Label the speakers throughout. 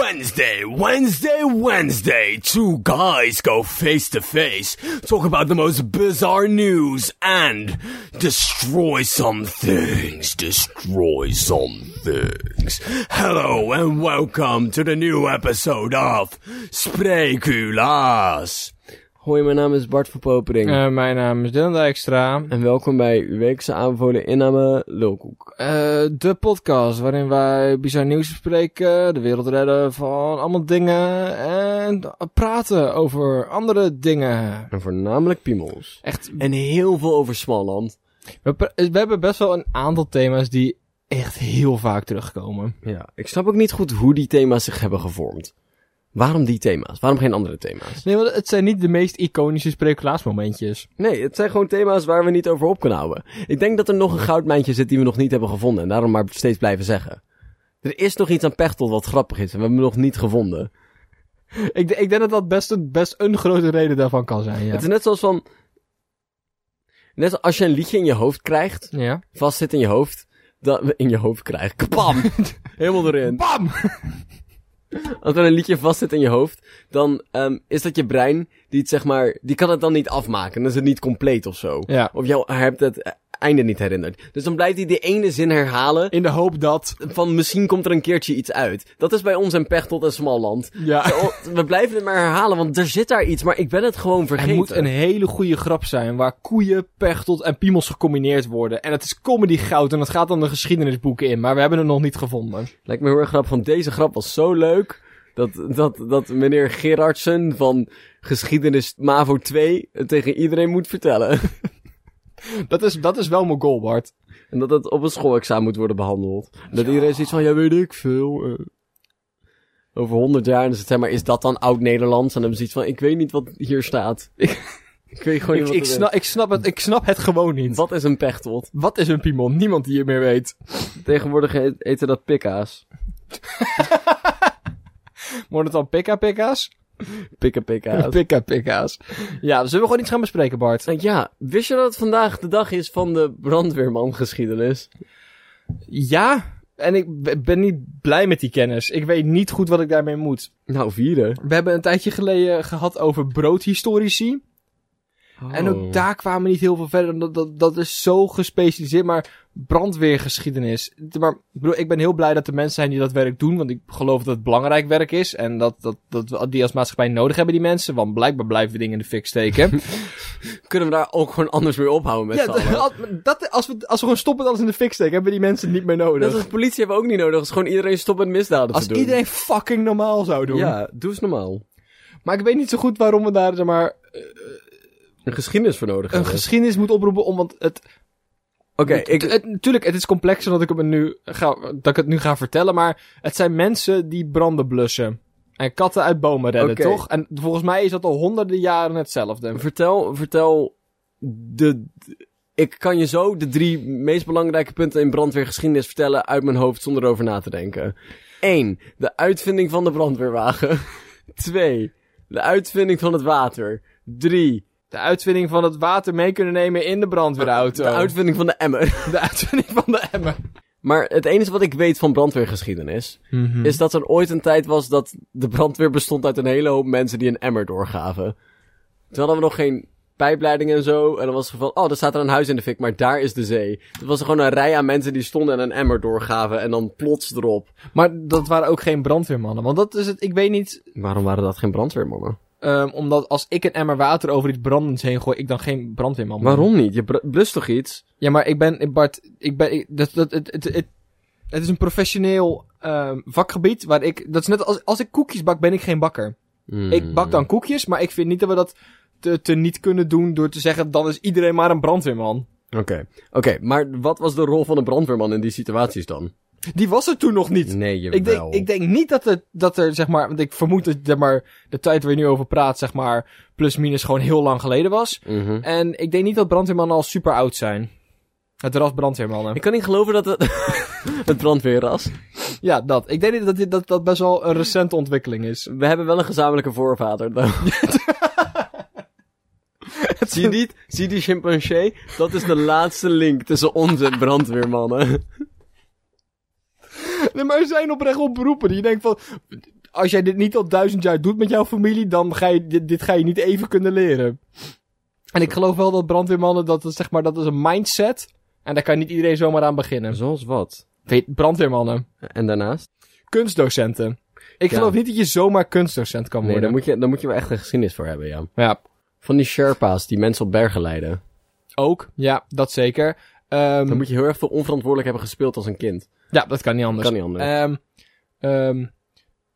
Speaker 1: Wednesday, Wednesday, Wednesday. Two guys go face to face, talk about the most bizarre news, and destroy some things. Destroy some things. Hello and welcome to the new episode of Spreekulaas. Hoi, mijn naam is Bart van Popering.
Speaker 2: Eh, mijn naam is Dylan Dijkstra.
Speaker 1: En welkom bij uw weekse aanbevolen inname Lulkoek.
Speaker 2: Eh, de podcast waarin wij bizar nieuws bespreken, de wereld redden van allemaal dingen en praten over andere dingen.
Speaker 1: En voornamelijk piemels.
Speaker 2: Echt,
Speaker 1: En heel veel over Smalland.
Speaker 2: we, pra- we hebben best wel een aantal thema's die echt heel vaak terugkomen.
Speaker 1: Ja, ik snap ook niet goed hoe die thema's zich hebben gevormd. Waarom die thema's? Waarom geen andere thema's?
Speaker 2: Nee, want het zijn niet de meest iconische spreeklaasmomentjes.
Speaker 1: Nee, het zijn gewoon thema's waar we niet over op kunnen houden. Ik denk dat er nog een goudmijntje zit die we nog niet hebben gevonden en daarom maar steeds blijven zeggen. Er is nog iets aan Pechtel wat grappig is en we hebben hem nog niet gevonden.
Speaker 2: Ik, d- ik denk dat dat best een, best een grote reden daarvan kan zijn, ja.
Speaker 1: Het is net zoals van... Net als als je een liedje in je hoofd krijgt,
Speaker 2: Ja.
Speaker 1: vast zit in je hoofd, dat in je hoofd krijgt. Kapam! Helemaal erin.
Speaker 2: Bam!
Speaker 1: Als er een liedje vast zit in je hoofd, dan ehm, is dat je brein die het zeg maar, die kan het dan niet afmaken. Dan is het niet compleet of zo.
Speaker 2: Ja.
Speaker 1: Of jou hebt het eh, einde niet herinnerd. Dus dan blijft hij die ene zin herhalen.
Speaker 2: In de hoop dat...
Speaker 1: Van misschien komt er een keertje iets uit. Dat is bij ons en Pechtold en Smalland.
Speaker 2: Ja.
Speaker 1: Zo, We blijven het maar herhalen, want er zit daar iets, maar ik ben het gewoon vergeten.
Speaker 2: Het moet een hele goede grap zijn waar koeien, pechtold en piemels gecombineerd worden. En het is comedy goud en dat gaat dan de geschiedenisboeken in, maar we hebben het nog niet gevonden.
Speaker 1: Lijkt me heel erg grappig, want deze grap was zo leuk. Dat, dat, dat meneer Gerardsen van geschiedenis MAVO 2 het tegen iedereen moet vertellen.
Speaker 2: Dat is, dat is wel mijn goal, Bart.
Speaker 1: En dat het op een schoolexamen moet worden behandeld. En dat iedereen zoiets van, ja weet ik veel. eh. Over honderd jaar, en ze zeg maar, is dat dan oud-Nederlands? En dan hebben ze iets van, ik weet niet wat hier staat. ik weet gewoon niet
Speaker 2: Ik,
Speaker 1: wat
Speaker 2: ik,
Speaker 1: het is.
Speaker 2: snap, ik, snap het, ik snap het gewoon niet.
Speaker 1: Wat is een pechtold?
Speaker 2: Wat is een piemel? Niemand die het meer weet.
Speaker 1: Tegenwoordig e- eten dat pikka's.
Speaker 2: Worden het dan pikka-pikka's?
Speaker 1: Pikka pikka's.
Speaker 2: Pikka-pikka's. Ja, zullen we gewoon iets gaan bespreken, Bart?
Speaker 1: Nou ja, wist je dat het vandaag de dag is van de brandweerman geschiedenis?
Speaker 2: Ja, en ik b- ben niet blij met die kennis. Ik weet niet goed wat ik daarmee moet.
Speaker 1: Nou, vieren.
Speaker 2: We hebben een tijdje geleden gehad over broodhistorici. En
Speaker 1: Oh.
Speaker 2: ook daar kwamen we niet heel veel verder. Dat, dat, dat is zo gespecialiseerd. Maar brandweergeschiedenis. Maar ik bedoel, ik ben heel blij dat er mensen zijn die dat werk doen. Want ik geloof dat het belangrijk werk is. En dat, dat, dat we die als maatschappij nodig hebben, die mensen. Want blijkbaar blijven we dingen in de fik steken.
Speaker 1: Kunnen we daar ook gewoon anders mee ophouden met
Speaker 2: ja,
Speaker 1: z'n allen?
Speaker 2: dat, dat- als, we, als we gewoon stoppen met alles in de fik steken, hebben we die mensen niet meer nodig.
Speaker 1: Net als politie hebben we ook niet nodig. Als gewoon iedereen stopt met misdaden
Speaker 2: als
Speaker 1: te doen.
Speaker 2: iedereen fucking normaal zou doen.
Speaker 1: Ja, doe eens normaal.
Speaker 2: Maar ik weet niet zo goed waarom we daar zeg maar,
Speaker 1: Een geschiedenis voor nodig
Speaker 2: een
Speaker 1: hebben.
Speaker 2: geschiedenis moeten oproepen. Om, want het,
Speaker 1: Oké,
Speaker 2: Oké,
Speaker 1: ik...
Speaker 2: natuurlijk, het is complexer dan ik, het nu ga, dat ik het nu ga vertellen, maar het zijn mensen die branden blussen. En katten uit bomen redden,
Speaker 1: Oké.
Speaker 2: toch? En volgens mij is dat al honderden jaren hetzelfde.
Speaker 1: Vertel, vertel de... Ik kan je zo de drie meest belangrijke punten in brandweergeschiedenis vertellen uit mijn hoofd zonder erover na te denken. 1. De uitvinding van de brandweerwagen. 2. De uitvinding van het water. 3.
Speaker 2: De uitvinding van het water mee kunnen nemen in de brandweerauto.
Speaker 1: De uitvinding van de emmer.
Speaker 2: De uitvinding van de emmer.
Speaker 1: Maar het enige wat ik weet van brandweergeschiedenis
Speaker 2: Mhm.
Speaker 1: is dat er ooit een tijd was dat de brandweer bestond uit een hele hoop mensen die een emmer doorgaven. Toen hadden we nog geen pijpleidingen en zo. En dan was het van, oh, er staat er een huis in de fik, maar daar is de zee. Toen was er gewoon een rij aan mensen die stonden en een emmer doorgaven en dan plots erop.
Speaker 2: Maar dat waren ook geen brandweermannen, want dat is het, ik weet niet,
Speaker 1: Waarom waren dat geen brandweermannen?
Speaker 2: ehm, omdat als ik een emmer water over iets brandends heen gooi, ik dan geen brandweerman ben.
Speaker 1: Waarom niet? Je br- blust toch iets?
Speaker 2: Ja, maar ik ben, ik- Bart, ik ben, ik- dat, dat, het, het, het, het is een professioneel ehm, vakgebied waar ik, dat is net als, als ik koekjes bak, ben ik geen bakker.
Speaker 1: Hmm.
Speaker 2: Ik bak dan koekjes, maar ik vind niet dat we dat te, te niet kunnen doen door te zeggen, dan is iedereen maar een brandweerman.
Speaker 1: Oké, oké. maar wat was de rol van een brandweerman in die situaties dan?
Speaker 2: Die was er toen nog niet.
Speaker 1: Nee, je
Speaker 2: Ik denk, ik denk niet dat er, dat er, zeg maar, want ik vermoed dat zeg maar, de tijd waar je nu over praat, zeg maar, plus minus gewoon heel lang geleden was.
Speaker 1: Mhm.
Speaker 2: En ik denk niet dat brandweermannen al super oud zijn. Het ras brandweermannen.
Speaker 1: Ik kan niet geloven dat het... het brandweerras.
Speaker 2: Ja, dat. Ik denk dat dit- dat, dat best wel een recente ontwikkeling is.
Speaker 1: We hebben wel een gezamenlijke voorvader. dan. zie je niet? Zie je die chimpansee? Dat is de laatste link tussen onze brandweermannen.
Speaker 2: Nee, maar er zijn oprecht op beroepen. Die denkt van, als jij dit niet al duizend jaar doet met jouw familie, dan ga je, dit, dit ga je niet even kunnen leren. En ik geloof wel dat brandweermannen, dat is zeg maar, dat is een mindset. En daar kan niet iedereen zomaar aan beginnen.
Speaker 1: Zoals wat?
Speaker 2: Weet, brandweermannen.
Speaker 1: En daarnaast?
Speaker 2: Kunstdocenten. Ik
Speaker 1: Ja.
Speaker 2: geloof niet dat je zomaar kunstdocent kan
Speaker 1: Nee,
Speaker 2: worden.
Speaker 1: daar moet, je, daar moet je wel echt een geschiedenis voor hebben, ja.
Speaker 2: Ja,
Speaker 1: Van die Sherpa's die mensen op bergen leiden.
Speaker 2: ook. Ja, dat zeker. Ehm,
Speaker 1: Dan moet je heel erg veel onverantwoordelijk hebben gespeeld als een kind.
Speaker 2: Ja, dat kan niet anders.
Speaker 1: Kan niet anders.
Speaker 2: Ehm, ehm,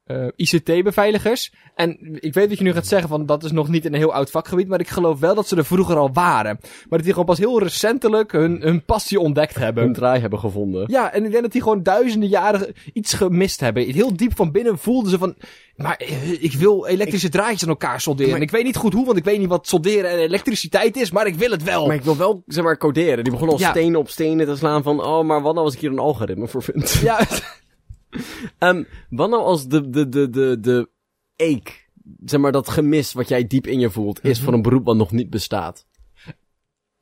Speaker 2: eh, ICT-beveiligers. En ik weet dat je nu gaat zeggen van dat is nog niet een heel oud vakgebied, maar ik geloof wel dat ze er vroeger al waren. Maar dat die gewoon pas heel recentelijk hun, hun passie ontdekt
Speaker 1: Een
Speaker 2: hebben.
Speaker 1: draai hebben gevonden.
Speaker 2: Ja, en ik denk dat die gewoon duizenden jaren iets gemist hebben. Heel diep van binnen voelden ze van, maar eh, ik wil elektrische draadjes aan elkaar solderen.
Speaker 1: Maar-
Speaker 2: En ik weet niet goed hoe, want ik weet niet wat solderen en elektriciteit is, maar ik wil het wel.
Speaker 1: Maar ik wil wel, zeg maar, coderen. Die begonnen al
Speaker 2: Ja.
Speaker 1: stenen op stenen te slaan van... Oh, maar wat nou als ik hier een algoritme voor vind?
Speaker 2: Ja,
Speaker 1: Ehm, wat nou als de, de, de, de, de ache, zeg maar, dat gemis wat jij diep in je voelt... is voor een beroep wat nog niet bestaat?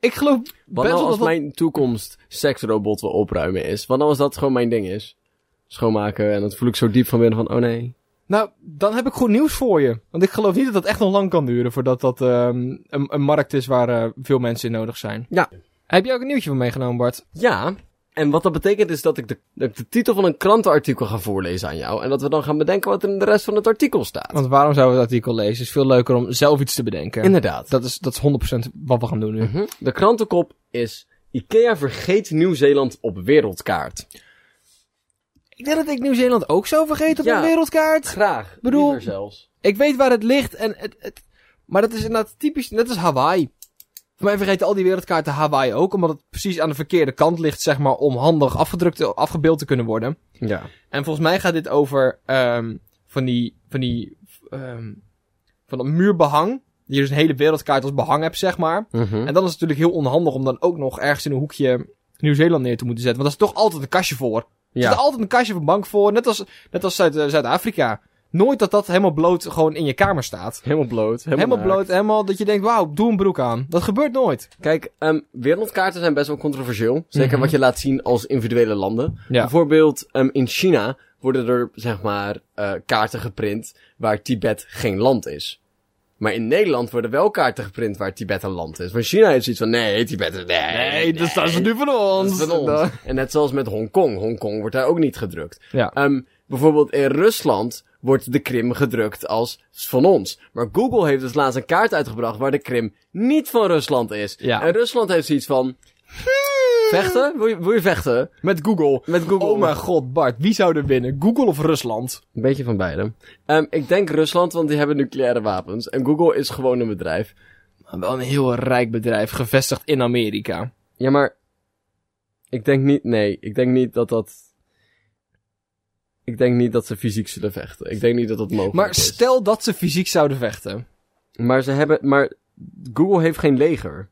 Speaker 2: ik geloof
Speaker 1: Wat
Speaker 2: best
Speaker 1: nou
Speaker 2: wel
Speaker 1: als
Speaker 2: dat dat-
Speaker 1: mijn toekomst seksrobot wil opruimen is? Wat nou als dat gewoon mijn ding is? Schoonmaken en dat voel ik zo diep van binnen van... Oh nee.
Speaker 2: Nou, dan heb ik goed nieuws voor je. Want ik geloof niet dat dat echt nog lang kan duren voordat dat ehm, een, een markt is waar eh, veel mensen in nodig zijn.
Speaker 1: Ja.
Speaker 2: Heb je ook een nieuwtje van meegenomen, Bart?
Speaker 1: Ja, en wat dat betekent is dat ik de, dat ik de titel van een krantenartikel ga voorlezen aan jou... en dat we dan gaan bedenken wat er in de rest van het artikel staat.
Speaker 2: Want waarom zouden we het artikel lezen? Het is veel leuker om zelf iets te bedenken.
Speaker 1: Inderdaad.
Speaker 2: Dat is, dat is 100% wat we gaan doen nu.
Speaker 1: Mhm. De krantenkop is... Ikea vergeet Nieuw-Zeeland op wereldkaart.
Speaker 2: Ik denk dat ik Nieuw-Zeeland ook zou vergeten op
Speaker 1: Ja.
Speaker 2: een wereldkaart.
Speaker 1: Graag.
Speaker 2: Bedoel-
Speaker 1: liever zelfs.
Speaker 2: Ik weet waar het ligt en het, het- Maar dat is inderdaad typisch... Dat is Hawaii. Voor mij vergeten al die wereldkaarten Hawaii ook, omdat het precies aan de verkeerde kant ligt, zeg maar, om handig afgedrukt, afgebeeld te kunnen worden.
Speaker 1: Ja.
Speaker 2: En volgens mij gaat dit over ehm, van die, van die, ehm, van dat muurbehang. Die je dus een hele wereldkaart als behang hebt, zeg maar.
Speaker 1: Mhm. Dus
Speaker 2: En dan is het natuurlijk heel onhandig om dan ook nog ergens in een hoekje Nieuw-Zeeland neer te moeten zetten. Want daar is toch altijd een kastje voor. Er zit
Speaker 1: Ja.
Speaker 2: altijd een kastje van bank voor. Net als, net als Zuid, eh, Zuid-Afrika. Nooit dat dat helemaal bloot gewoon in je kamer staat.
Speaker 1: Helemaal bloot. Helemaal,
Speaker 2: Helemaal,
Speaker 1: naakt.
Speaker 2: bloot, helemaal dat je denkt, wauw, doe een broek aan. Dat gebeurt nooit.
Speaker 1: Kijk, ehm, wereldkaarten zijn best wel controversieel. Zeker
Speaker 2: Mhm.
Speaker 1: wat je laat zien als individuele landen.
Speaker 2: Ja.
Speaker 1: Bijvoorbeeld ehm, in China worden er, zeg maar, eh, kaarten geprint waar Tibet geen land is. Maar in Nederland worden wel kaarten geprint waar Tibet een land is. Want China heeft zoiets van, nee, Tibet is... Nee,
Speaker 2: nu van
Speaker 1: dat
Speaker 2: ons.
Speaker 1: is van ons. En net zoals met Hongkong. Hongkong wordt daar ook niet gedrukt.
Speaker 2: Ja.
Speaker 1: Ehm, bijvoorbeeld in Rusland wordt de Krim gedrukt als van ons. Maar Google heeft dus laatst een kaart uitgebracht waar de Krim niet van Rusland is.
Speaker 2: Ja. Hmm.
Speaker 1: En Rusland heeft zoiets van... Vechten? Wil je, wil je vechten?
Speaker 2: Met Google.
Speaker 1: Met Google.
Speaker 2: Oh mijn god, Bart, wie zou er winnen? Google of Rusland?
Speaker 1: Een beetje van beide. Ehm, ik denk Rusland, want die hebben nucleaire wapens. En Google is gewoon een bedrijf.
Speaker 2: Wel een heel rijk bedrijf, gevestigd in Amerika.
Speaker 1: Ja, maar... Ik denk niet... Nee, ik denk niet dat dat... Ik denk niet dat ze fysiek zullen vechten. Ik denk niet dat dat mogelijk
Speaker 2: Maar
Speaker 1: is.
Speaker 2: stel dat ze fysiek zouden vechten.
Speaker 1: Maar ze hebben... Maar Google heeft geen leger.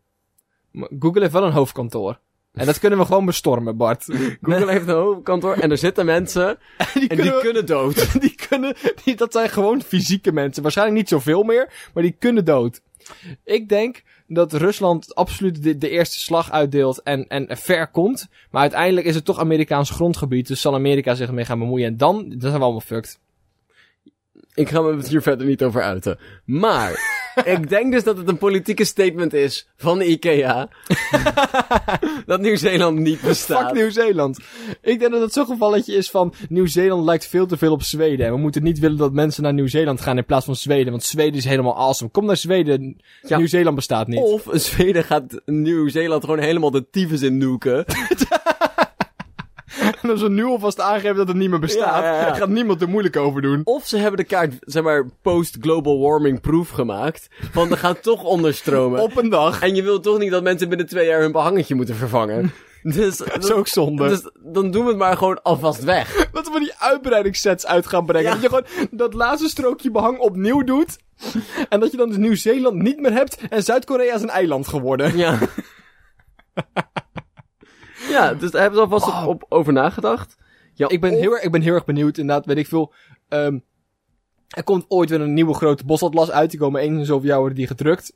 Speaker 2: Maar Google heeft wel een hoofdkantoor. En dat kunnen we gewoon bestormen, Bart.
Speaker 1: Google heeft een hoofdkantoor en er zitten mensen
Speaker 2: die
Speaker 1: en die kunnen dood.
Speaker 2: kunnen, die kunnen die, dat zijn gewoon fysieke mensen. Waarschijnlijk niet zoveel meer, maar die kunnen dood. Ik denk dat Rusland absoluut de, de eerste slag uitdeelt en, en ver komt. Maar uiteindelijk is het toch Amerikaans grondgebied, dus zal Amerika zich ermee gaan bemoeien. En dan, dan zijn we allemaal fucked.
Speaker 1: Ik ga me hier verder niet over uiten. Maar ik denk dus dat het een politieke statement is van IKEA dat Nieuw-Zeeland niet
Speaker 2: Fuck
Speaker 1: bestaat.
Speaker 2: Nieuw-Zeeland. Ik denk dat het zo'n gevalletje is van... Nieuw-Zeeland lijkt veel te veel op Zweden. En we moeten niet willen dat mensen naar Nieuw-Zeeland gaan in plaats van Zweden. Want Zweden is helemaal awesome. Kom naar Zweden.
Speaker 1: Ja. Oh.
Speaker 2: Nieuw-Zeeland bestaat niet.
Speaker 1: Of Zweden gaat Nieuw-Zeeland gewoon helemaal de tyfus in nuken.
Speaker 2: En als we nu alvast aangeven dat het niet meer bestaat...
Speaker 1: Ja, ja, ja.
Speaker 2: gaat niemand er moeilijk over doen.
Speaker 1: Of ze hebben de kaart, zeg maar, post-global warming proof gemaakt. Want er gaat toch onderstromen.
Speaker 2: Op een dag.
Speaker 1: En je wilt toch niet dat mensen binnen twee jaar hun behangetje moeten vervangen. Dus,
Speaker 2: Dat is ook zonde.
Speaker 1: dus dan doen we het maar gewoon alvast weg.
Speaker 2: Dat we die uitbreidingssets uit gaan brengen.
Speaker 1: Ja.
Speaker 2: Dat je gewoon dat laatste strookje behang opnieuw doet. En dat je dan dus Nieuw-Zeeland niet meer hebt. En Zuid-Korea is een eiland geworden.
Speaker 1: Ja. ja, dus daar hebben ze alvast op, op over nagedacht. Ja,
Speaker 2: Ik ben, heel, erg- ik ben heel erg benieuwd, inderdaad, weet ik veel. Ehm, er komt ooit weer een nieuwe grote bosatlas uit. Die komen eens zoveel jaar worden die gedrukt.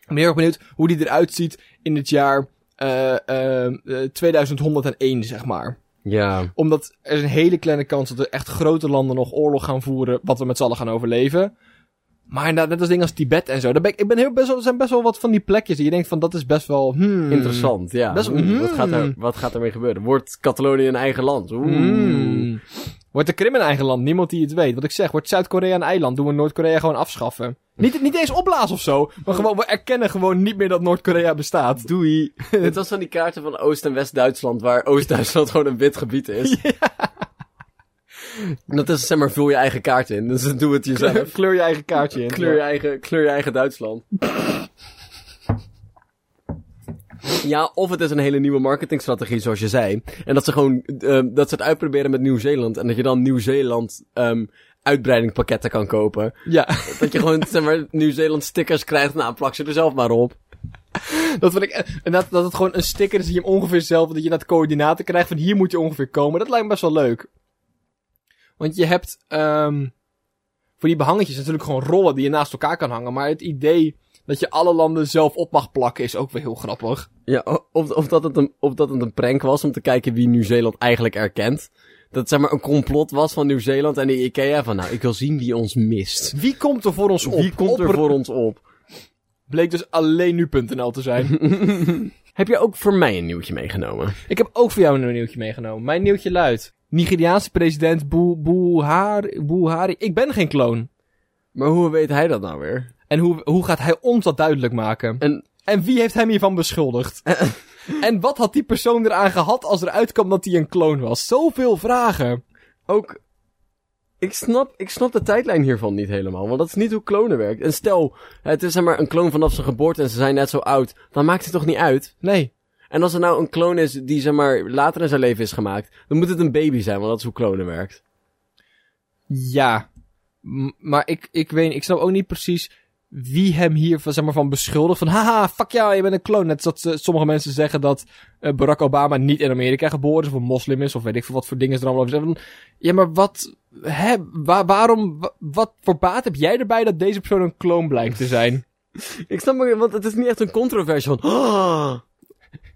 Speaker 2: Ik ben heel erg benieuwd hoe die eruit ziet in het jaar eh, ehm, eh, 2101, zeg maar.
Speaker 1: Ja.
Speaker 2: Omdat er is een hele kleine kans dat er echt grote landen nog oorlog gaan voeren, wat we met z'n allen gaan overleven. Maar inderdaad, net als dingen als Tibet en zo. Daar ben ik, ik ben heel best wel, er zijn best wel wat van die plekjes die je denkt van dat is best wel hmm,
Speaker 1: Interessant, ja.
Speaker 2: Best-
Speaker 1: Oeh,
Speaker 2: mm.
Speaker 1: wat, gaat er, wat gaat ermee gebeuren? Wordt Catalonië een eigen land? Oeh.
Speaker 2: Hmm. Wordt de Krim een eigen land? Niemand die het weet. Wat ik zeg, wordt Zuid-Korea een eiland? Doen we Noord-Korea gewoon afschaffen?
Speaker 1: Hm.
Speaker 2: Niet, niet eens opblazen of zo, maar gewoon, we erkennen gewoon niet meer dat Noord-Korea bestaat.
Speaker 1: Doei. Dit was van die kaarten van Oost- en West-Duitsland, waar Oost-Duitsland gewoon een wit gebied is. Dat is, zeg maar, vul je eigen kaart in. Dus doe het jezelf.
Speaker 2: Kleur je eigen kaartje in.
Speaker 1: kleur, je eigen, kleur je eigen Duitsland. Ja, of het is een hele nieuwe marketingstrategie, zoals je zei. En dat ze gewoon, ehm, dat ze het uitproberen met Nieuw-Zeeland. En dat je dan Nieuw-Zeeland ehm uitbreidingpakketten kan kopen.
Speaker 2: Ja,
Speaker 1: Dat je gewoon, zeg maar, Nieuw-Zeeland stickers krijgt. Nou, plak ze er zelf maar op.
Speaker 2: dat vind ik. En dat, dat het gewoon een sticker is die je hem ongeveer zelf. Dat je dat coördinaten krijgt van hier moet je ongeveer komen. Dat lijkt me best wel leuk. Want je hebt. ehm, voor die behangetjes natuurlijk gewoon rollen die je naast elkaar kan hangen. Maar het idee dat je alle landen zelf op mag plakken is ook weer heel grappig.
Speaker 1: Ja, o- of, of, dat het een, of dat het een prank was om te kijken wie Nieuw-Zeeland eigenlijk erkent. Dat het zeg maar een complot was van Nieuw-Zeeland en de IKEA van nou, ik wil zien wie ons mist.
Speaker 2: Wie komt er voor ons op?
Speaker 1: Wie komt er
Speaker 2: Opper-
Speaker 1: voor ons op?
Speaker 2: Bleek dus alleen nu.nl te zijn.
Speaker 1: Heb je ook voor mij een nieuwtje meegenomen?
Speaker 2: ik heb ook voor jou een nieuwtje meegenomen. Mijn nieuwtje luidt. Nigeriaanse president Bu- Buhari, Buhari. Ik ben geen kloon.
Speaker 1: Maar hoe weet hij dat nou weer?
Speaker 2: En hoe, hoe gaat hij ons dat duidelijk maken?
Speaker 1: En
Speaker 2: En wie heeft hem hiervan beschuldigd? en wat had die persoon eraan gehad als eruit kwam dat hij een kloon was? Zoveel vragen.
Speaker 1: ook, ik snap, ik snap de tijdlijn hiervan niet helemaal, want dat is niet hoe klonen werkt. En stel, het is zeg maar een kloon vanaf zijn geboorte en ze zijn net zo oud, dan maakt het toch niet uit?
Speaker 2: Nee.
Speaker 1: En als er nou een kloon is die zeg maar later in zijn leven is gemaakt, dan moet het een baby zijn, want dat is hoe klonen werkt.
Speaker 2: Ja. M- maar ik, ik weet ik snap ook niet precies wie hem hier van, zeg maar, van beschuldigt. Van haha, fuck jou, je bent een kloon. Net zoals eh, sommige mensen zeggen dat eh, Barack Obama niet in Amerika geboren is. Of een moslim is. Of weet ik veel wat voor dingen ze er allemaal over zeggen. Ja, maar wat... Hè, wa- waarom... wa- wat voor baat heb jij erbij dat deze persoon een kloon blijkt te zijn?
Speaker 1: Ik snap maar, want het is niet echt een controversie van. "Ah."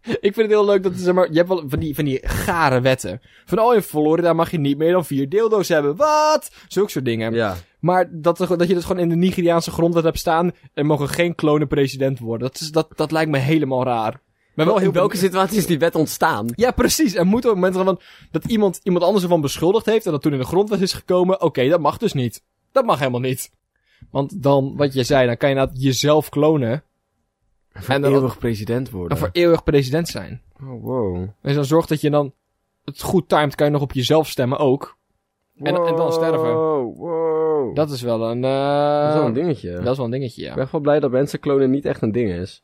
Speaker 2: Ik vind het heel leuk dat zeg maar, je hebt wel van die, van die gare wetten. Van oh, in Florida mag je niet meer dan vier dildo's hebben. Wat? Zulke soort dingen.
Speaker 1: Ja.
Speaker 2: Maar dat, er- dat je dat gewoon in de Nigeriaanse grondwet hebt staan. Er mogen geen klonen president worden. Dat, is, dat, dat lijkt me helemaal raar. Maar wel heel
Speaker 1: In welke
Speaker 2: benieuwd-
Speaker 1: situatie is die wet ontstaan?
Speaker 2: Ja, precies. Er moet op het moment van dat iemand, iemand anders ervan beschuldigd heeft. En dat toen in de grondwet is gekomen. Oké, dat mag dus niet. Dat mag helemaal niet. Want dan, wat je zei, dan kan je inderdaad jezelf klonen.
Speaker 1: Voor
Speaker 2: dan-
Speaker 1: eeuwig president
Speaker 2: En
Speaker 1: worden.
Speaker 2: voor eeuwig president zijn.
Speaker 1: Oh, wow.
Speaker 2: Dus dan zorgt dat je dan het goed timed, kan je nog op jezelf stemmen ook. En, en dan sterven.
Speaker 1: Wow, wow.
Speaker 2: Dat is wel een.
Speaker 1: Dat is wel een
Speaker 2: eh
Speaker 1: dingetje.
Speaker 2: dat is wel een dingetje,
Speaker 1: Ik
Speaker 2: ja.
Speaker 1: ben echt wel blij dat mensen klonen niet echt een ding is.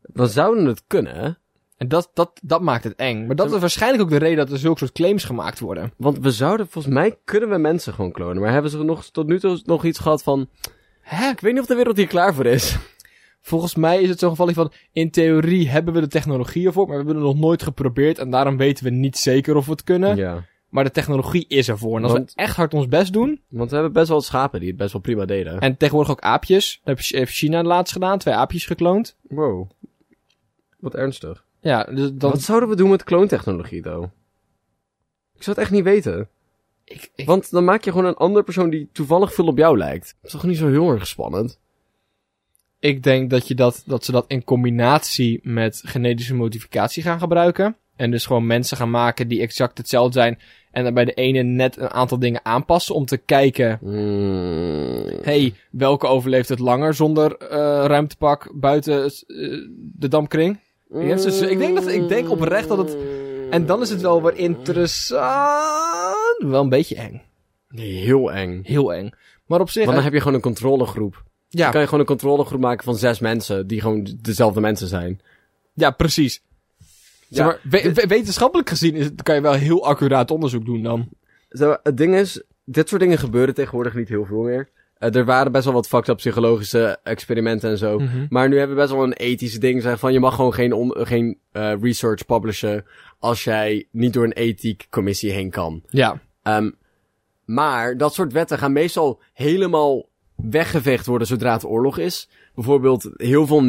Speaker 1: We zouden het kunnen, hè?
Speaker 2: En dat, dat, dat maakt het eng. Maar dat is waarschijnlijk ook de reden dat er zulke soort claims gemaakt worden.
Speaker 1: want we zouden, volgens mij kunnen we mensen gewoon klonen. Maar hebben ze nog, tot nu toe nog iets gehad van,
Speaker 2: Hè?
Speaker 1: ik weet niet of de wereld hier klaar voor is.
Speaker 2: Volgens mij is het zo'n geval van, in theorie hebben we de technologie ervoor, maar we hebben het nog nooit geprobeerd en daarom weten we niet zeker of we het kunnen.
Speaker 1: Ja.
Speaker 2: Maar de technologie is ervoor. En als
Speaker 1: Want-
Speaker 2: we echt hard ons best doen,
Speaker 1: Want we hebben best wel schapen die het best wel prima deden.
Speaker 2: en tegenwoordig ook aapjes, dat heeft- heeft China laatst gedaan, twee aapjes gekloond.
Speaker 1: Wow. Wat ernstig.
Speaker 2: Ja, dus dan...
Speaker 1: Wat zouden we doen met kloontechnologie, though? Ik zou het echt niet weten.
Speaker 2: Ik, ik-
Speaker 1: Want dan maak je gewoon een andere persoon die toevallig veel op jou lijkt. Dat is toch niet zo heel erg spannend?
Speaker 2: Ik denk dat, je dat, dat ze dat in combinatie met genetische modificatie gaan gebruiken. En dus gewoon mensen gaan maken die exact hetzelfde zijn. En dan bij de ene net een aantal dingen aanpassen om te kijken.
Speaker 1: Hmm.
Speaker 2: hey, welke overleeft het langer zonder eh, ruimtepak buiten eh, de dampkring? Ik heb ze- ik denk dat- ik denk oprecht dat het- En dan is het wel weer interessant. Wel een beetje eng.
Speaker 1: Nee, heel eng.
Speaker 2: Heel eng. Maar op zich.
Speaker 1: Want dan heb je gewoon een controlegroep.
Speaker 2: ja,
Speaker 1: Dan kan je gewoon een controlegroep maken van zes mensen die gewoon d- dezelfde mensen zijn.
Speaker 2: ja, precies.
Speaker 1: Ja,
Speaker 2: Zeg maar, we- we- wetenschappelijk gezien is het- kan je wel heel accuraat onderzoek doen dan.
Speaker 1: Zo, het ding is, dit soort dingen gebeuren tegenwoordig niet heel veel meer. Eh, er waren best wel wat fucked up psychologische experimenten en zo.
Speaker 2: Mhm.
Speaker 1: Maar nu hebben we best wel een ethisch ding. Zeg van, je mag gewoon geen, on- geen eh, research publishen als jij niet door een ethiek commissie heen kan.
Speaker 2: Ja.
Speaker 1: Ehm, maar dat soort wetten gaan meestal helemaal weggeveegd worden zodra het oorlog is. Bijvoorbeeld, heel veel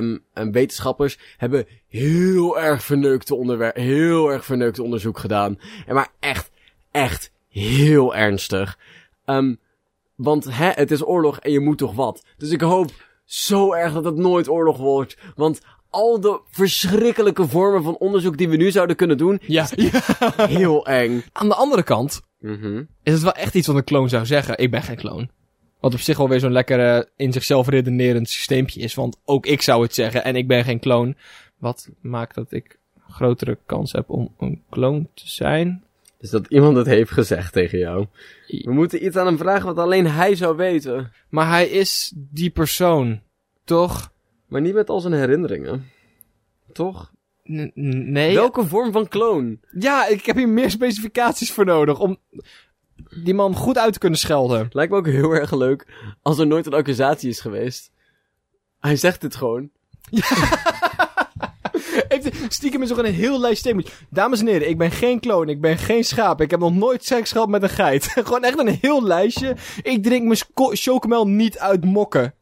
Speaker 1: nazi-wetenschappers hebben heel erg verneukte onderwerp, heel erg verneukte onderzoek gedaan. En maar echt, echt heel ernstig. Ehm, want hè, het is oorlog en je moet toch wat. Dus ik hoop zo erg dat het nooit oorlog wordt. Want al de verschrikkelijke vormen van onderzoek die we nu zouden kunnen doen,
Speaker 2: Ja.
Speaker 1: heel eng.
Speaker 2: Aan de andere kant
Speaker 1: Mhm.
Speaker 2: is het wel echt iets wat een kloon zou zeggen. Ik ben geen kloon. Wat op zich wel weer zo'n lekker eh, in zichzelf redenerend systeempje is. Want ook ik zou het zeggen en ik ben geen kloon. Wat maakt dat ik grotere kans heb om een kloon te zijn?
Speaker 1: Dus dat iemand het heeft gezegd tegen jou. We moeten iets aan hem vragen wat alleen hij zou weten.
Speaker 2: Maar hij is die persoon, toch?
Speaker 1: Maar niet met al zijn herinneringen. Toch?
Speaker 2: N- n- nee.
Speaker 1: Welke vorm van kloon?
Speaker 2: Ja, ik heb hier meer specificaties voor nodig om die man goed uit te kunnen schelden.
Speaker 1: Lijkt me ook heel erg leuk als er nooit een accusatie is geweest. Hij zegt dit gewoon.
Speaker 2: Heeft stiekem is nog een heel lijst statements. Dames en heren, ik ben geen kloon, ik ben geen schaap, ik heb nog nooit seks gehad met een geit. Gewoon echt een heel lijstje. Ik drink mijn sco- chocomel niet uit mokken.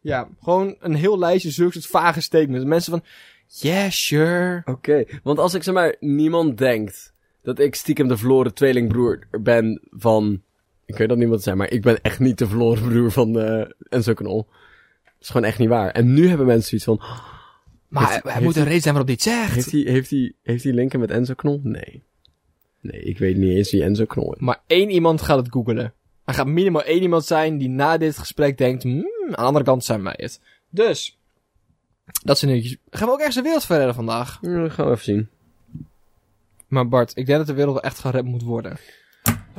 Speaker 2: Ja, gewoon een heel lijstje zulke soort vage statements. Mensen van, yeah, sure.
Speaker 1: Oké, want als ik zeg maar niemand denkt dat ik stiekem de verloren tweelingbroer ben van... Ik weet dat niemand zijn, maar ik ben echt niet de verloren broer van eh Enzo Knol. Dat is gewoon echt niet waar. En nu hebben mensen zoiets van...
Speaker 2: Maar
Speaker 1: Heeft-
Speaker 2: hij
Speaker 1: heeft-
Speaker 2: moet een reden zijn waarop dit zegt.
Speaker 1: Heeft hij, heeft hij, heeft hij linken met Enzo Knol? Nee. Nee, ik weet niet eens wie Enzo Knol is.
Speaker 2: Maar één iemand gaat het googelen. Er gaat minimaal één iemand zijn die na dit gesprek denkt... "Hmm, aan de andere kant zijn wij het. Dus, dat zijn nieuwtjes. Gaan we ook ergens de wereld verredden vandaag?
Speaker 1: Ja, dat gaan we even zien.
Speaker 2: Maar Bart, ik denk dat de wereld wel echt gered moet worden.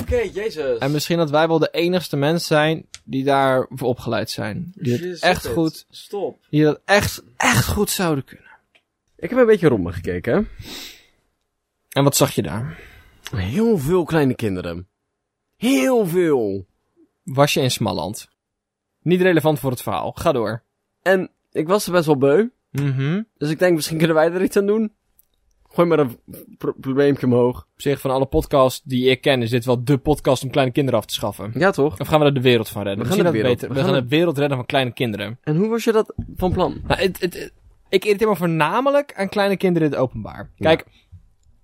Speaker 1: Oké, jezus.
Speaker 2: En misschien dat wij wel de enigste mens zijn die daarvoor opgeleid zijn. Die dat echt goed,
Speaker 1: Stop.
Speaker 2: die dat echt, echt goed zouden kunnen.
Speaker 1: Ik heb een beetje rond me gekeken, hè.
Speaker 2: En wat zag je daar?
Speaker 1: Heel veel kleine kinderen. Heel veel.
Speaker 2: Was je in Smalland? Niet relevant voor het verhaal. Ga door.
Speaker 1: En ik was er best wel beu.
Speaker 2: Mhm.
Speaker 1: Dus ik denk, misschien kunnen wij er iets aan doen. Gooi maar een pro- probleempje omhoog.
Speaker 2: Op zich, van alle podcasts die ik ken, is dit wel dé podcast om kleine kinderen af te schaffen.
Speaker 1: Ja, toch?
Speaker 2: Of gaan we er de wereld van redden?
Speaker 1: We gaan
Speaker 2: Misschien
Speaker 1: de wereld-
Speaker 2: dat beter.
Speaker 1: we
Speaker 2: We gaan
Speaker 1: gaan
Speaker 2: de wereld redden van kleine kinderen.
Speaker 1: En hoe was je dat van plan?
Speaker 2: Nou, het, het, het- ik irriteer me voornamelijk aan kleine kinderen in het openbaar. Kijk,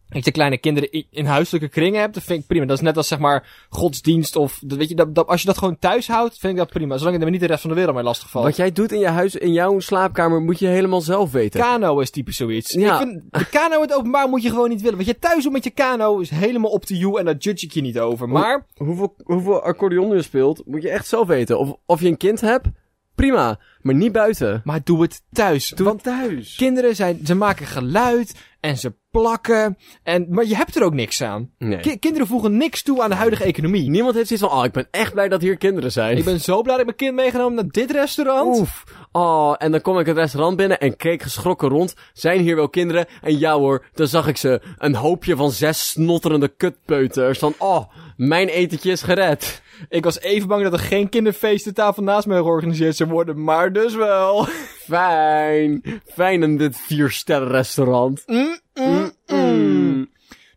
Speaker 2: als je kleine kinderen i- in huiselijke kringen hebt, dat vind ik prima. Dat is net als zeg maar godsdienst of dat, weet je, dat, dat- als je dat gewoon thuis houdt, vind ik dat prima. Zolang je er niet de rest van de wereld mee lastig valt.
Speaker 1: Wat jij doet in je huis, in jouw slaapkamer, moet je helemaal zelf weten.
Speaker 2: Kano is typisch zoiets.
Speaker 1: Ja.
Speaker 2: Ik vind, de kano in het openbaar moet je gewoon niet willen. Wat je thuis doet met je kano is helemaal op to you en daar judge ik je niet over. Maar
Speaker 1: hoeveel, hoeveel accordeon je speelt, moet je echt zelf weten. Of, of je een kind hebt, prima. Maar niet buiten.
Speaker 2: Maar doe het thuis.
Speaker 1: Doe
Speaker 2: Want
Speaker 1: het thuis.
Speaker 2: kinderen zijn, ze maken geluid en ze plakken. En, maar je hebt er ook niks aan.
Speaker 1: Nee.
Speaker 2: Ki- kinderen voegen niks toe aan de huidige economie.
Speaker 1: Niemand heeft zoiets van, oh, ik ben echt blij dat hier kinderen zijn.
Speaker 2: Ik ben zo blij dat ik mijn kind meegenomen naar dit restaurant.
Speaker 1: Oef. Oh, en dan kom ik het restaurant binnen en keek geschrokken rond. Zijn hier wel kinderen? En ja hoor, dan zag ik ze. Een hoopje van zes snotterende kutpeuters. Van, oh, mijn etentje is gered.
Speaker 2: Ik was even bang dat er geen kinderfeestentafel naast mij georganiseerd zou worden, maar dus wel.
Speaker 1: Fijn. Fijn in dit viersterren restaurant.
Speaker 2: Mm.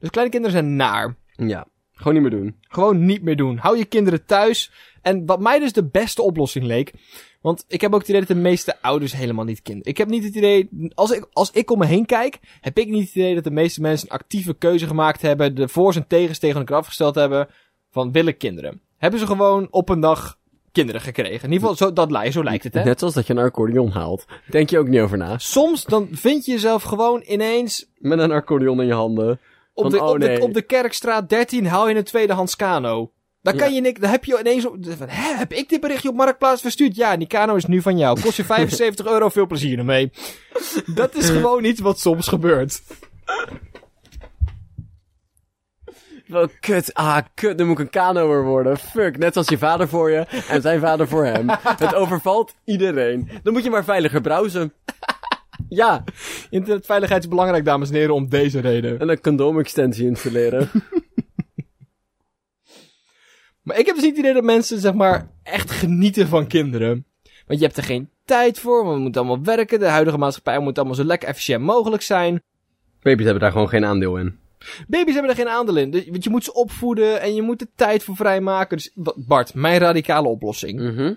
Speaker 2: Dus kleine kinderen zijn naar.
Speaker 1: Ja, gewoon niet meer doen.
Speaker 2: Gewoon niet meer doen. Hou je kinderen thuis. En wat mij dus de beste oplossing leek. Want ik heb ook het idee dat de meeste ouders helemaal niet kinderen. Ik heb niet het idee. Als ik, als ik om me heen kijk, heb ik niet het idee dat de meeste mensen een actieve keuze gemaakt hebben. De voor's en tegens tegen elkaar afgesteld hebben. Van willen kinderen. Hebben ze gewoon op een dag kinderen gekregen. In ieder geval, zo, dat, lij- zo lijkt het, hè?
Speaker 1: Net zoals dat je een accordeon haalt. Denk je ook niet over na.
Speaker 2: Soms dan vind je jezelf gewoon ineens
Speaker 1: Met een accordeon in je handen.
Speaker 2: op,
Speaker 1: Van,
Speaker 2: de,
Speaker 1: oh
Speaker 2: op,
Speaker 1: nee.
Speaker 2: de, op de Kerkstraat 13 haal je een tweedehands kano. Dan kan je niks, dan heb je ineens op, van, hè, heb ik dit berichtje op Marktplaats verstuurd? Ja, die kano is nu van jou. Kost je 75 euro, veel plezier ermee. Dat is gewoon iets wat soms gebeurt.
Speaker 1: Wel, kut, ah, kut, nu moet ik een kanoer worden. Fuck, net als je vader voor je en zijn vader voor hem. Het overvalt iedereen. Dan moet je maar veiliger browsen. Ja,
Speaker 2: Internetveiligheid is belangrijk, dames en heren, om deze reden.
Speaker 1: en een condoomextensie installeren.
Speaker 2: Maar ik heb dus niet het idee dat mensen, zeg maar, echt genieten van kinderen. Want je hebt er geen tijd voor, want we moeten allemaal werken. De huidige maatschappij moet allemaal zo lekker efficiënt mogelijk zijn.
Speaker 1: Baby's hebben daar gewoon geen aandeel in.
Speaker 2: Baby's hebben er geen aandeel in. Dus- Want je moet ze opvoeden en je moet er tijd voor vrijmaken. Dus wat- Bart, mijn radicale oplossing.
Speaker 1: Mhm.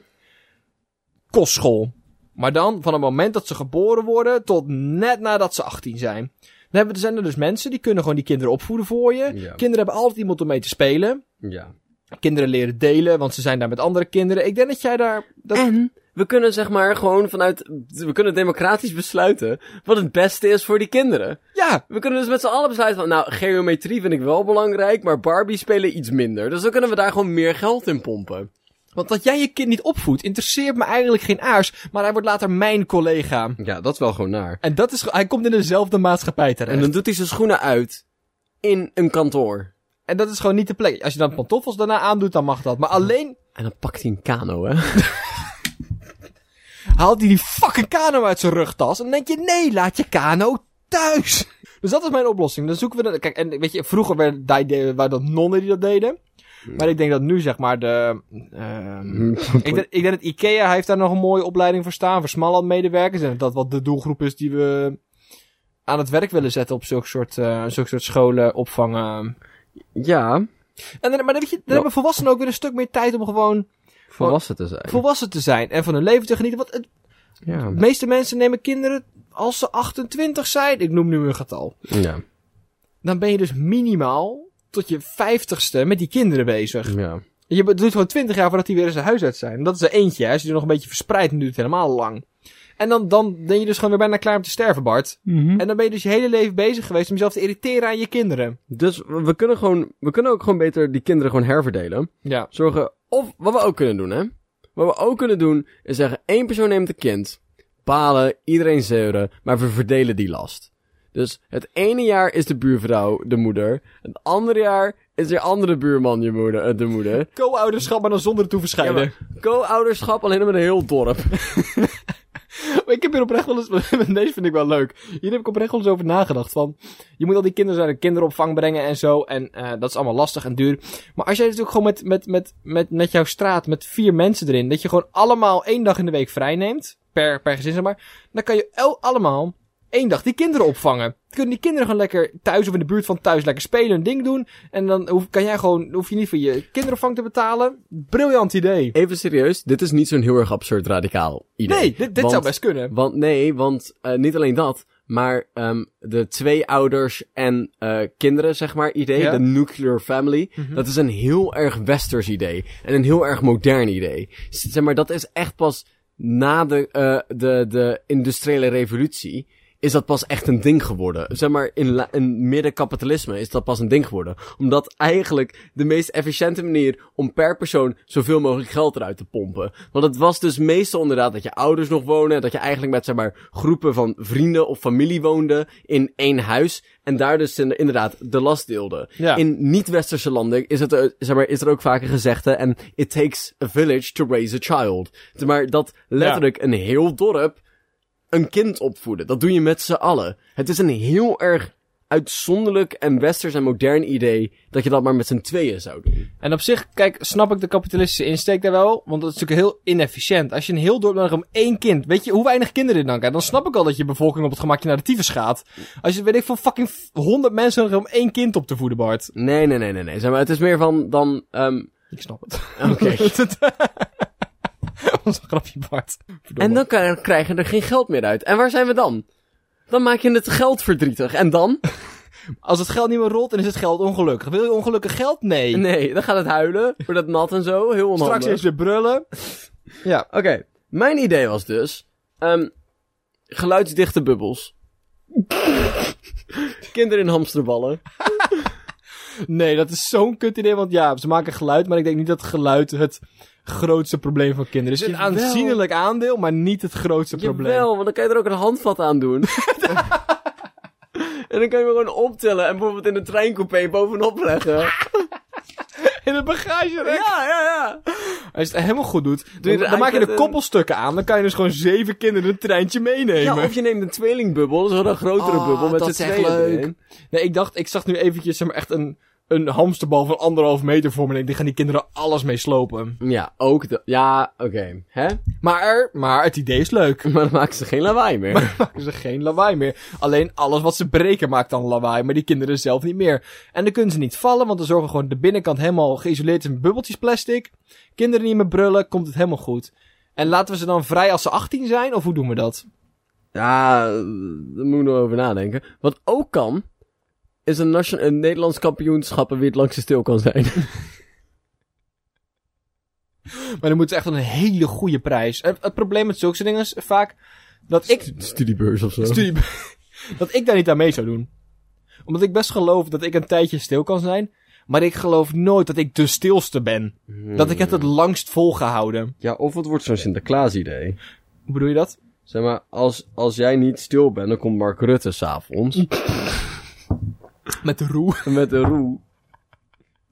Speaker 2: kostschool. Maar dan van het moment dat ze geboren worden tot net nadat ze 18 zijn. Dan hebben, zijn er dus mensen die kunnen gewoon die kinderen opvoeden voor je.
Speaker 1: Ja.
Speaker 2: Kinderen hebben altijd iemand om mee te spelen.
Speaker 1: Ja.
Speaker 2: Kinderen leren delen, want ze zijn daar met andere kinderen. Ik denk dat jij daar... Dat...
Speaker 1: En we kunnen zeg maar gewoon vanuit. We kunnen democratisch besluiten wat het beste is voor die kinderen.
Speaker 2: Ja,
Speaker 1: We kunnen dus met z'n allen besluiten van. Nou, geometrie vind ik wel belangrijk, maar Barbie spelen iets minder. Dus dan kunnen we daar gewoon meer geld in pompen.
Speaker 2: want dat jij je kind niet opvoedt interesseert me eigenlijk geen aars. Maar hij wordt later mijn collega.
Speaker 1: Ja, dat is wel gewoon naar.
Speaker 2: En dat is, ge- hij komt in dezelfde maatschappij terecht.
Speaker 1: En dan doet hij zijn schoenen uit in een kantoor.
Speaker 2: en dat is gewoon niet de plek. Als je dan pantoffels daarna aandoet, dan mag dat. Maar alleen
Speaker 1: En dan pakt hij een kano, hè?
Speaker 2: haalt hij die fucking kano uit zijn rugtas. En dan denk je, nee, laat je kano thuis. Dus dat is mijn oplossing. Dan zoeken we... De, kijk, en weet je, vroeger werden die, deden- waren dat nonnen die dat deden. Maar ik denk dat nu, zeg maar, de... ehm, ik, denk, ik denk dat Ikea hij heeft daar nog een mooie opleiding voor staan. Voor smallandmedewerkers. En dat dat wat de doelgroep is die we aan het werk willen zetten op zulke soort, eh, zulke soort scholen, opvangen.
Speaker 1: Ja,
Speaker 2: En dan, maar dan, weet je, dan
Speaker 1: Ja.
Speaker 2: hebben volwassenen ook weer een stuk meer tijd om gewoon
Speaker 1: volwassen te zijn.
Speaker 2: volwassen te zijn. En van hun leven te genieten. Want het,
Speaker 1: Ja.
Speaker 2: de meeste mensen nemen kinderen als ze 28 zijn. Ik noem nu een getal.
Speaker 1: Ja.
Speaker 2: Dan ben je dus minimaal tot je 50ste met die kinderen bezig.
Speaker 1: ja.
Speaker 2: Je be- doet gewoon 20 jaar voordat die weer eens een huis uit zijn. Dat is er eentje. hè. Als je die nog een beetje verspreidt, dan duurt het helemaal lang. En dan, dan ben je dus gewoon weer bijna klaar om te sterven, Bart.
Speaker 1: Mhm.
Speaker 2: En dan ben je dus je hele leven bezig geweest om jezelf te irriteren aan je kinderen.
Speaker 1: Dus we we kunnen, gewoon, we kunnen ook gewoon beter die kinderen gewoon herverdelen.
Speaker 2: Ja.
Speaker 1: Zorgen, of wat we ook kunnen doen, hè. Wat we ook kunnen doen, is zeggen, één persoon neemt een kind. Palen, iedereen zeuren, maar we verdelen die last. Dus het ene jaar is de buurvrouw de moeder. Het andere jaar is de andere buurman je moeder, eh, de moeder.
Speaker 2: Co-ouderschap, maar dan zonder
Speaker 1: Ja,
Speaker 2: toeverscheiden.
Speaker 1: maar co-ouderschap alleen maar met een heel dorp.
Speaker 2: Maar ik heb hier oprecht wel eens... Deze vind ik wel leuk. Hier heb ik oprecht wel eens over nagedacht. Van, je moet al die kinderen naar de kinderopvang brengen en zo. En eh, dat is allemaal lastig en duur. Maar als jij natuurlijk gewoon met, met, met, met, met jouw straat, met vier mensen erin... dat je gewoon allemaal één dag in de week vrij neemt... per, per gezin zeg maar... dan kan je el- allemaal één dag die kinderen opvangen. Dan kunnen die kinderen gewoon lekker thuis of in de buurt van thuis... lekker spelen, hun ding doen. En dan hoef, kan jij gewoon, hoef je niet voor je kinderopvang te betalen. Briljant idee.
Speaker 1: Even serieus, dit is niet zo'n heel erg absurd radicaal idee.
Speaker 2: Nee, dit, dit
Speaker 1: Want-
Speaker 2: zou best kunnen.
Speaker 1: Want nee, want eh, niet alleen dat, maar ehm, de twee ouders en eh, kinderen, zeg maar, idee,
Speaker 2: Ja.
Speaker 1: de nuclear family, dat is een heel erg westers idee en een heel erg modern idee. Z- Zeg maar, dat is echt pas na de, eh, de, de industriële revolutie. Is dat pas echt een ding geworden? Zeg maar, in, la- in middenkapitalisme is dat pas een ding geworden. Omdat eigenlijk de meest efficiënte manier om per persoon zoveel mogelijk geld eruit te pompen. Want het was dus meestal inderdaad dat je ouders nog wonen. en Dat je eigenlijk met zeg maar groepen van vrienden of familie woonde in één huis. En daar dus in- inderdaad de last deelde.
Speaker 2: Ja.
Speaker 1: In niet-westerse landen is, het, eh, zeg maar, is er ook vaker gezegde. En it takes a village to raise a child. Zeg Maar dat letterlijk een heel dorp een kind opvoeden. Dat doe je met z'n allen. Het is een heel erg uitzonderlijk en westers en modern idee dat je dat maar met z'n tweeën zou doen.
Speaker 2: En op zich, kijk, snap ik de kapitalistische insteek daar wel. Want dat is natuurlijk heel inefficiënt. Als je een heel dorp nodig hebt om één kind. Weet je hoe weinig kinderen dit dan kan? Dan snap ik al dat je bevolking op het gemakje naar de tyfus gaat. Als je, weet ik veel, fucking 100 mensen nodig hebt om één kind op te voeden, Bart.
Speaker 1: Nee, nee, nee, nee, nee. Zeg maar, het is meer van dan. ehm,
Speaker 2: Ik snap het.
Speaker 1: Oké.
Speaker 2: Dat was een grapje, Bart.
Speaker 1: en dan kan- krijgen er geen geld meer uit. En waar zijn we dan? Dan maak je het geld verdrietig. En dan?
Speaker 2: Als het geld niet meer rolt, dan is het geld ongelukkig. Wil je ongelukkig geld? Nee.
Speaker 1: Nee, dan gaat het huilen. Wordt het nat en zo. Heel onhandig.
Speaker 2: Straks is weer brullen. Ja.
Speaker 1: Oké, mijn idee was dus... ehm, geluidsdichte bubbels. Kinderen in hamsterballen.
Speaker 2: Nee, dat is zo'n kut idee. Want ja, ze maken geluid. Maar ik denk niet dat geluid het grootste probleem van kinderen is. Een
Speaker 1: Jawel.
Speaker 2: aanzienlijk aandeel, maar niet het grootste probleem.
Speaker 1: Jawel, want dan kan je er ook een handvat aan doen. en dan kan je hem gewoon optillen en bijvoorbeeld in een treincoupé bovenop leggen.
Speaker 2: In het bagagerek.
Speaker 1: ja, ja, ja.
Speaker 2: Als je het helemaal goed doet,
Speaker 1: Doe je
Speaker 2: dan,
Speaker 1: er
Speaker 2: dan maak je
Speaker 1: eigenlijk
Speaker 2: de
Speaker 1: een-
Speaker 2: koppelstukken aan. Dan kan je dus gewoon zeven kinderen een treintje meenemen.
Speaker 1: Ja, of je neemt een tweelingbubbel, dat is wel een grotere
Speaker 2: Ah,
Speaker 1: bubbel met
Speaker 2: dat
Speaker 1: z'n
Speaker 2: is echt
Speaker 1: tweeën
Speaker 2: leuk.
Speaker 1: erin.
Speaker 2: Nee, ik dacht, ik zag nu eventjes zeg maar, echt een een hamsterbal van anderhalf meter voor me. En ik denk, die gaan die kinderen alles mee slopen.
Speaker 1: Ja, ook de... Ja, oké. Hè?
Speaker 2: Maar, er- maar het idee is leuk.
Speaker 1: Maar dan maken ze geen lawaai meer.
Speaker 2: maken ze geen lawaai meer. Alleen alles wat ze breken maakt dan lawaai, maar die kinderen zelf niet meer. En dan kunnen ze niet vallen, want dan zorgen gewoon de binnenkant helemaal geïsoleerd is met bubbeltjes plastic. Kinderen niet meer brullen, komt het helemaal goed. En laten we ze dan vrij als ze 18 zijn, of hoe doen we dat?
Speaker 1: Ja, eh, daar moet ik nog over nadenken. Wat ook kan, is een, nation- een Nederlands kampioenschap en wie het langste stil kan zijn.
Speaker 2: Maar dan moeten ze echt wel een hele goede prijs. En het probleem met zulke soort dingen is vaak dat ik...
Speaker 1: Studiebeurs of zo.
Speaker 2: Studie- dat ik daar niet aan mee zou doen. Omdat ik best geloof dat ik een tijdje stil kan zijn, maar ik geloof nooit dat ik de stilste ben. Dat ik het het langst volgehouden.
Speaker 1: Ja, of het wordt zo'n Sinterklaas-idee.
Speaker 2: Hoe bedoel je dat?
Speaker 1: Zeg maar, als, als jij niet stil bent, dan komt Mark Rutte s'avonds.
Speaker 2: Met de roe.
Speaker 1: met een roe.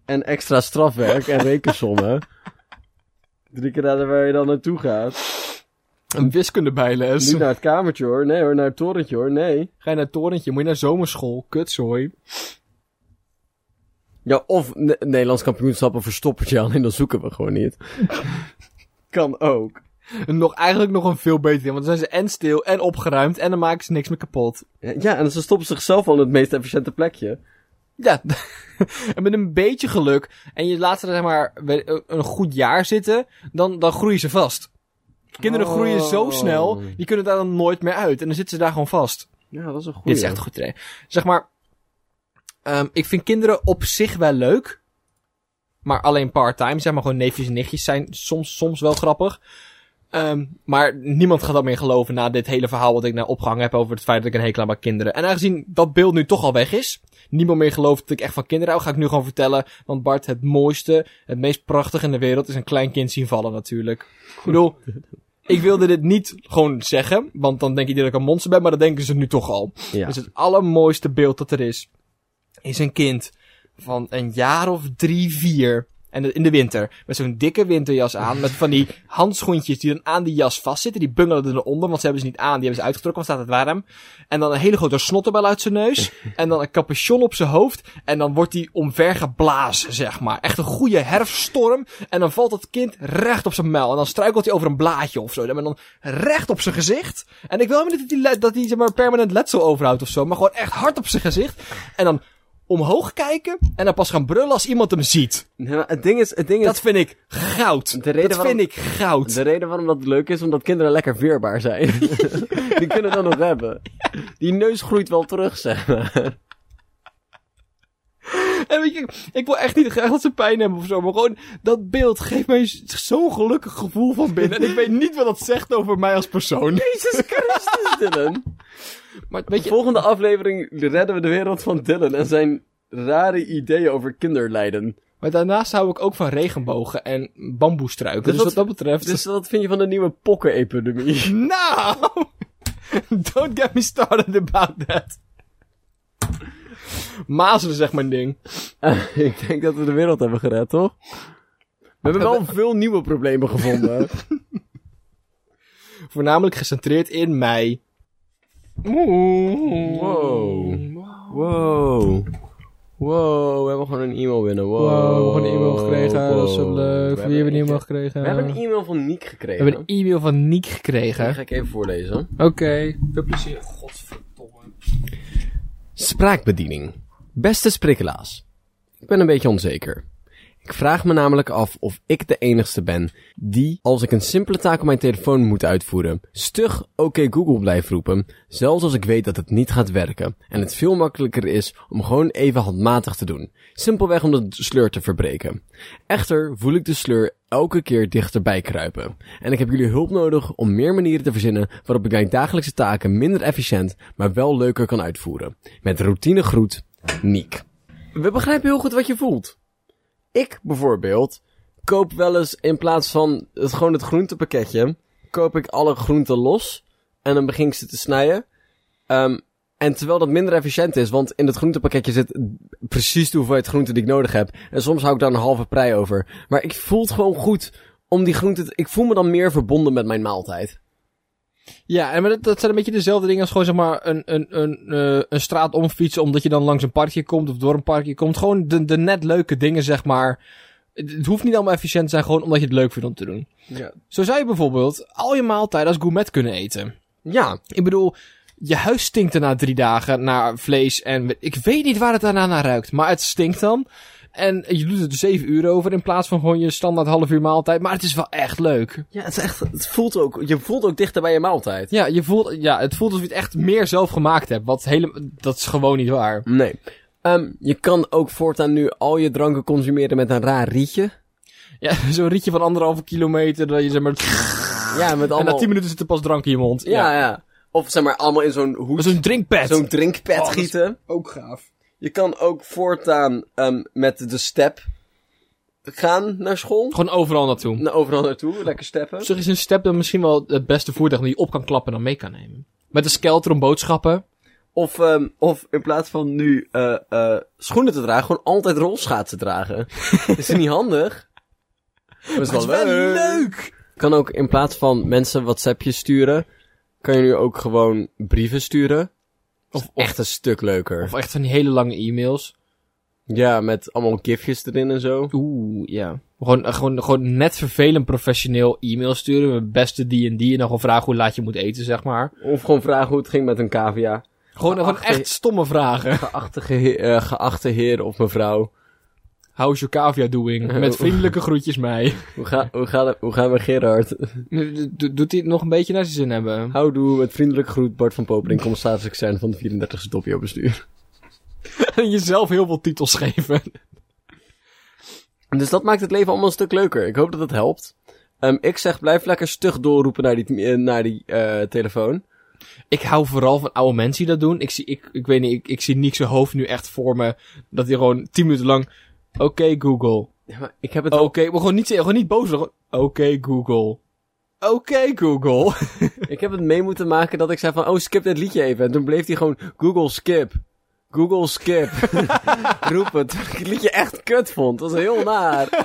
Speaker 1: En extra strafwerk en rekensommen. Drie keer raden waar je dan naartoe gaat.
Speaker 2: Een wiskundebijles.
Speaker 1: Niet naar het kamertje hoor. Nee hoor, naar het torentje hoor. Nee.
Speaker 2: Ga je naar het torentje? Moet je naar zomerschool? Kutzooi.
Speaker 1: Ja, of Ne- Nederlands kampioenschappen verstoppertje alleen, dan zoeken we gewoon niet. kan ook.
Speaker 2: En nog, eigenlijk nog een veel beter ding, want dan zijn ze en stil en opgeruimd en dan maken ze niks meer kapot.
Speaker 1: Ja, en ze stoppen zichzelf al in het meest efficiënte plekje.
Speaker 2: Ja. en met een beetje geluk en je laat ze er, zeg maar we- een goed jaar zitten, dan, dan groeien ze vast. Kinderen
Speaker 1: Oh.
Speaker 2: groeien zo snel, die kunnen daar dan nooit meer uit en dan zitten ze daar gewoon vast.
Speaker 1: Ja, dat is een goede.
Speaker 2: Dit is echt een goed idee. Zeg maar, ehm, ik vind kinderen op zich wel leuk. Maar alleen part-time, zeg maar gewoon neefjes en nichtjes zijn soms, soms wel grappig. Ehm, maar niemand gaat dat meer geloven na dit hele verhaal wat ik nou opgehangen heb over het feit dat ik een hekel heb aan kinderen. En aangezien dat beeld nu toch al weg is, niemand meer gelooft dat ik echt van kinderen hou, ga ik nu gewoon vertellen. Want Bart, het mooiste, het meest prachtige in de wereld is een klein kind zien vallen natuurlijk. Ik bedoel, ik wilde dit niet gewoon zeggen, want dan denk iedereen dat ik een monster ben, maar dat denken ze nu toch al.
Speaker 1: Ja.
Speaker 2: Dus het allermooiste beeld dat er is, is een kind van een jaar of drie, vier. En dat in de winter. Met zo'n dikke winterjas aan. Met van die handschoentjes die dan aan die jas vastzitten. Die bungelen eronder, want ze hebben ze niet aan. Die hebben ze uitgetrokken, want staat het warm. En dan een hele grote snotterbel uit zijn neus. En dan een capuchon op zijn hoofd. En dan wordt die omvergeblazen, zeg maar. Echt een goede herfststorm. En dan valt het kind recht op zijn muil. En dan struikelt hij over een blaadje of zo. En dan recht op zijn gezicht. En ik wil helemaal niet dat hij, le- dat hij zeg maar, permanent letsel overhoudt of zo. Maar gewoon echt hard op zijn gezicht. En dan omhoog kijken. En dan pas gaan brullen als iemand hem ziet.
Speaker 1: Nee, maar het ding is, het ding is
Speaker 2: Dat vind ik goud.
Speaker 1: De reden
Speaker 2: dat
Speaker 1: waarom-
Speaker 2: vind ik goud.
Speaker 1: De reden waarom dat leuk is, omdat kinderen lekker weerbaar zijn. die kunnen dat nog hebben. Die neus groeit wel terug, zeg maar.
Speaker 2: En weet je, ik wil echt niet graag dat ze pijn hebben of zo. Maar gewoon, dat beeld geeft mij z- zo'n gelukkig gevoel van binnen. En ik weet niet wat dat zegt over mij als persoon.
Speaker 1: Jezus Christus, Dylan.
Speaker 2: Maar
Speaker 1: De
Speaker 2: weet Oh, je,
Speaker 1: volgende aflevering redden we de wereld van Dylan en zijn rare ideeën over kinderlijden.
Speaker 2: maar daarnaast hou ik ook van regenbogen en bamboestruiken. Dus,
Speaker 1: Dus
Speaker 2: wat
Speaker 1: wat-
Speaker 2: dat betreft...
Speaker 1: Dus wat vind je van de nieuwe pokkenepidemie?
Speaker 2: Nou! Don't get me started about that. Mazelen, zeg mijn ding.
Speaker 1: Ik denk dat we de wereld hebben gered, toch? We hebben wel veel nieuwe problemen gevonden.
Speaker 2: Voornamelijk gecentreerd in mij.
Speaker 1: Wow. Wow. Wow, we hebben gewoon een e-mail binnen. Wow, wow. een e-mail-
Speaker 2: gekregen.
Speaker 1: We hebben een e-mail van Niek gekregen.
Speaker 2: We hebben een e-mail van Niek gekregen.
Speaker 1: Die ga ik even voorlezen.
Speaker 2: Oké, veel plezier. Godverdomme.
Speaker 1: Spraakbediening. Beste sprikkelaars. Ik ben een beetje onzeker. Ik vraag me namelijk af of ik de enigste ben die, als ik een simpele taak op mijn telefoon moet uitvoeren, stug oké Google blijft roepen, zelfs als ik weet dat het niet gaat werken en het veel makkelijker is om gewoon even handmatig te doen, simpelweg om de sleur te verbreken. Echter voel ik de sleur elke keer dichterbij kruipen en ik heb jullie hulp nodig om meer manieren te verzinnen waarop ik mijn dagelijkse taken minder efficiënt, maar wel leuker kan uitvoeren. Met routinegroet, Niek. We begrijpen heel goed wat je voelt. Ik bijvoorbeeld koop wel eens in plaats van het, gewoon het groentepakketje, koop ik alle groenten los en dan begin ik ze te snijden. Ehm, en terwijl dat minder efficiënt is, want in het groentepakketje zit precies de hoeveelheid groenten die ik nodig heb. En soms hou ik daar een halve prei over. Maar ik voel het gewoon goed om die groenten... te- Ik voel me dan meer verbonden met mijn maaltijd.
Speaker 2: Ja, en maar dat, dat zijn een beetje dezelfde dingen als gewoon zeg maar een, een, een, eh, een straat omfietsen omdat je dan langs een parkje komt of door een parkje komt. Gewoon de, de net leuke dingen zeg maar. Het, het hoeft niet allemaal efficiënt te zijn gewoon omdat je het leuk vindt om te doen.
Speaker 1: Ja.
Speaker 2: Zo zou je bijvoorbeeld al je maaltijden als gourmet kunnen eten.
Speaker 1: Ja.
Speaker 2: Ik bedoel, je huis stinkt er na drie dagen naar vlees en we- ik weet niet waar het daarna naar ruikt, maar het stinkt dan. En je doet er zeven uur over in plaats van gewoon je standaard half uur maaltijd. Maar het is wel echt leuk.
Speaker 1: Ja, het is echt, het voelt ook, je voelt ook dichter bij je maaltijd.
Speaker 2: Ja, je voelt, ja, het voelt alsof je het echt meer zelf gemaakt hebt. Wat hele, dat is gewoon niet waar.
Speaker 1: Nee. Ehm, je kan ook voortaan nu al je dranken consumeren met een raar rietje.
Speaker 2: Ja, zo'n rietje van anderhalve kilometer. Dat je zeg maar.
Speaker 1: Ja, met
Speaker 2: En na
Speaker 1: allemaal...
Speaker 2: tien minuten zit er pas drank in je mond.
Speaker 1: ja, ja, Of zeg maar allemaal in zo'n hoed,
Speaker 2: Dat is een drinkpad.
Speaker 1: zo'n drinkpad
Speaker 2: Oh, dat is-
Speaker 1: gieten.
Speaker 2: Ook gaaf.
Speaker 1: Je kan ook voortaan ehm, met de step gaan naar school.
Speaker 2: Gewoon overal naartoe.
Speaker 1: Naar overal naartoe, lekker steppen.
Speaker 2: Op zich is een step dan misschien wel het beste voertuig die je op kan klappen en dan mee kan nemen. Met een skelter om boodschappen.
Speaker 1: Of, ehm, of in plaats van nu eh, eh, schoenen te dragen, gewoon altijd rolschaatsen dragen. is dat niet handig? Maar is wel
Speaker 2: leuk.
Speaker 1: Kan ook in plaats van mensen WhatsAppjes sturen, kan je nu ook gewoon brieven sturen.
Speaker 2: Of-
Speaker 1: Of echt een stuk leuker.
Speaker 2: Of echt van die hele lange e-mails.
Speaker 1: ja, met allemaal gifjes erin en zo.
Speaker 2: Oeh, ja. Gewoon, eh, gewoon, gewoon net vervelend professioneel e-mail sturen. Met beste die en die. En dan gewoon vragen hoe laat je moet eten, zeg maar.
Speaker 1: Of gewoon vragen hoe het ging met een cavia.
Speaker 2: Gewoon, gewoon
Speaker 1: Geachte-
Speaker 2: echt stomme vragen.
Speaker 1: Geachte, gehe- eh, geachte heer of mevrouw.
Speaker 2: How's your cavia doing? Met vriendelijke groetjes mij.
Speaker 1: Hoe, ga, hoe, gaat- hoe gaan we Gerard?
Speaker 2: Do- Doet hij het nog een beetje naar zijn zin hebben?
Speaker 1: Houdoe, met vriendelijke groet Bart van Popering, commissaris extern van de 34e Topio-bestuur.
Speaker 2: En jezelf heel veel titels geven.
Speaker 1: Dus dat maakt het leven allemaal een stuk leuker. Ik hoop dat het helpt. Ehm, ik zeg, blijf lekker stug doorroepen naar die, eh, naar die eh, telefoon.
Speaker 2: Ik hou vooral van oude mensen die dat doen. Ik zie, ik, ik weet niet, ik, ik zie Nick zijn hoofd nu echt voor me. Dat hij gewoon tien minuten lang... Oké, Google.
Speaker 1: Ja, maar ik heb het
Speaker 2: Oké, maar gewoon niet, gewoon niet boos. worden, gewoon, Oké, Google. Oké, Google.
Speaker 1: Ik heb het mee moeten maken dat ik zei van, oh, skip dit liedje even. En toen bleef hij gewoon, Google skip. Google skip. Roep het. Terwijl ik het liedje echt kut vond. Dat was heel naar.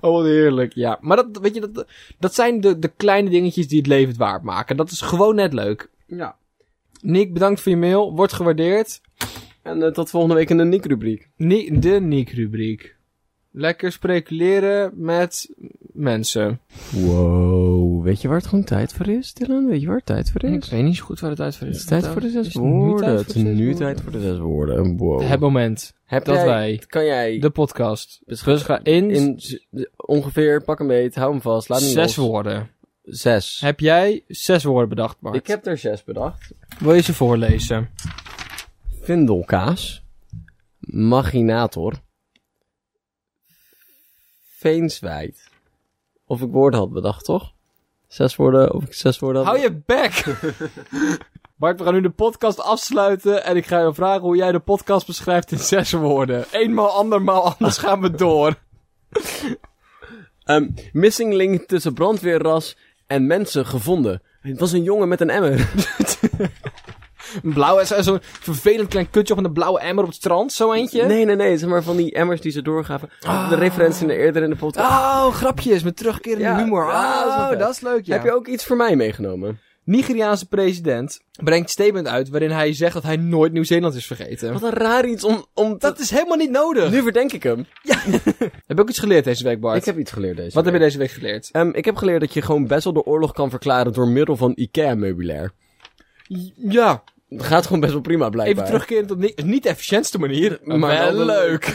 Speaker 2: Oh, wat heerlijk. Ja, maar dat, weet je, dat, dat zijn de, de kleine dingetjes die het leven het waard maken. Dat is gewoon net leuk.
Speaker 1: Ja.
Speaker 2: Nick, bedankt voor je mail. Wordt gewaardeerd.
Speaker 1: En eh, tot volgende week in de Nick-rubriek.
Speaker 2: Ni- de Nick-rubriek. Lekker speculeren met mensen.
Speaker 1: Wow. Weet je waar het gewoon tijd voor is, Dylan? Weet je waar het tijd voor
Speaker 2: Ik weet niet zo goed waar het uit voor
Speaker 1: Het is tijd voor de zes
Speaker 2: het nu
Speaker 1: woorden.
Speaker 2: tijd voor
Speaker 1: Het
Speaker 2: de
Speaker 1: is
Speaker 2: zes
Speaker 1: nu
Speaker 2: woorden?
Speaker 1: tijd voor de zes woorden. Wow.
Speaker 2: Het moment
Speaker 1: Heb
Speaker 2: dat
Speaker 1: jij-
Speaker 2: wij
Speaker 1: Kan jij
Speaker 2: de podcast
Speaker 1: beschrijven
Speaker 2: in,
Speaker 1: in z- ongeveer, pak een beet, hou hem vast, laat hem
Speaker 2: zes
Speaker 1: los.
Speaker 2: woorden.
Speaker 1: Zes.
Speaker 2: Heb jij zes woorden bedacht, Bart?
Speaker 1: Ik heb er zes bedacht.
Speaker 2: Wil je ze voorlezen?
Speaker 1: Vindelkaas. Maginator. Veenswijd. Of ik woorden had bedacht, toch? Zes woorden, of ik zes woorden had
Speaker 2: Hou je bek! Bart, we gaan nu de podcast afsluiten en ik ga je vragen hoe jij de podcast beschrijft in zes woorden. Eenmaal, andermaal, anders gaan we door.
Speaker 1: Ehm, missing link tussen brandweerras en mensen gevonden. Het was een jongen met een emmer.
Speaker 2: Een blauwe, zo- zo'n vervelend klein kutje op een blauwe emmer op het strand, zo eentje.
Speaker 1: Nee, nee, nee. Zeg maar van die emmers die ze doorgaven. De referentie naar eerder in de podcast.
Speaker 2: Oh, grapjes met terugkerende
Speaker 1: Ja,
Speaker 2: humor.
Speaker 1: ja, dat is wel
Speaker 2: Oh,
Speaker 1: vet.
Speaker 2: dat is leuk, ja.
Speaker 1: Heb je ook iets voor mij meegenomen?
Speaker 2: Nigeriaanse president brengt statement uit waarin hij zegt dat hij nooit Nieuw-Zeeland is vergeten.
Speaker 1: Wat een raar iets om, om te...
Speaker 2: Dat is helemaal niet nodig.
Speaker 1: Nu verdenk ik hem.
Speaker 2: Heb je ook iets geleerd deze week, Bart?
Speaker 1: Ik heb iets geleerd deze
Speaker 2: Wat
Speaker 1: week.
Speaker 2: heb je deze week geleerd?
Speaker 1: Ehm, ik heb geleerd dat je gewoon best wel de oorlog kan verklaren door middel van IKEA-meubilair.
Speaker 2: Ja,
Speaker 1: Dat gaat gewoon best wel prima, blijkbaar.
Speaker 2: even terugkeren tot niet, niet de efficiëntste manier, maar, wel, leuk.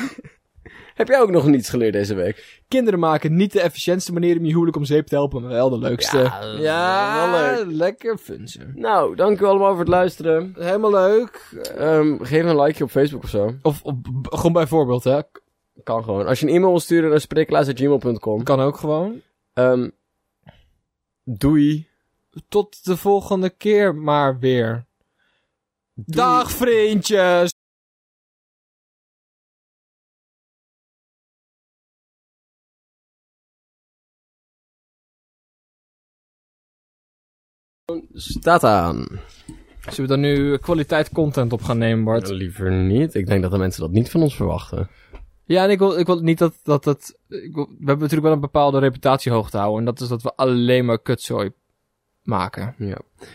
Speaker 1: Heb jij ook nog niets geleerd deze week?
Speaker 2: Kinderen maken niet de efficiëntste manier om je huwelijk om zeep te helpen, maar wel de leukste.
Speaker 1: Ja, dat is wel
Speaker 2: lekker funzen.
Speaker 1: Nou, dank u allemaal voor het luisteren.
Speaker 2: Helemaal leuk.
Speaker 1: Ehm, geef een likeje op Facebook of zo.
Speaker 2: Of, of b- gewoon bijvoorbeeld, hè. K-
Speaker 1: Kan gewoon. Als je een e-mail wil sturen naar spreeklaas.gmail.com.
Speaker 2: Kan ook gewoon.
Speaker 1: Ehm doei.
Speaker 2: Tot de volgende keer maar weer. Dag vriendjes!
Speaker 1: Staat aan.
Speaker 2: Zullen we dan nu kwaliteit content op gaan nemen, Bart?
Speaker 1: Liever niet. Ik denk dat de mensen dat niet van ons verwachten.
Speaker 2: Ja, en ik wil, ik wil niet dat dat... dat ik wil- we hebben natuurlijk wel een bepaalde reputatie hoog te houden. En dat is dat we alleen maar kutzooi
Speaker 3: maken.
Speaker 2: Ja.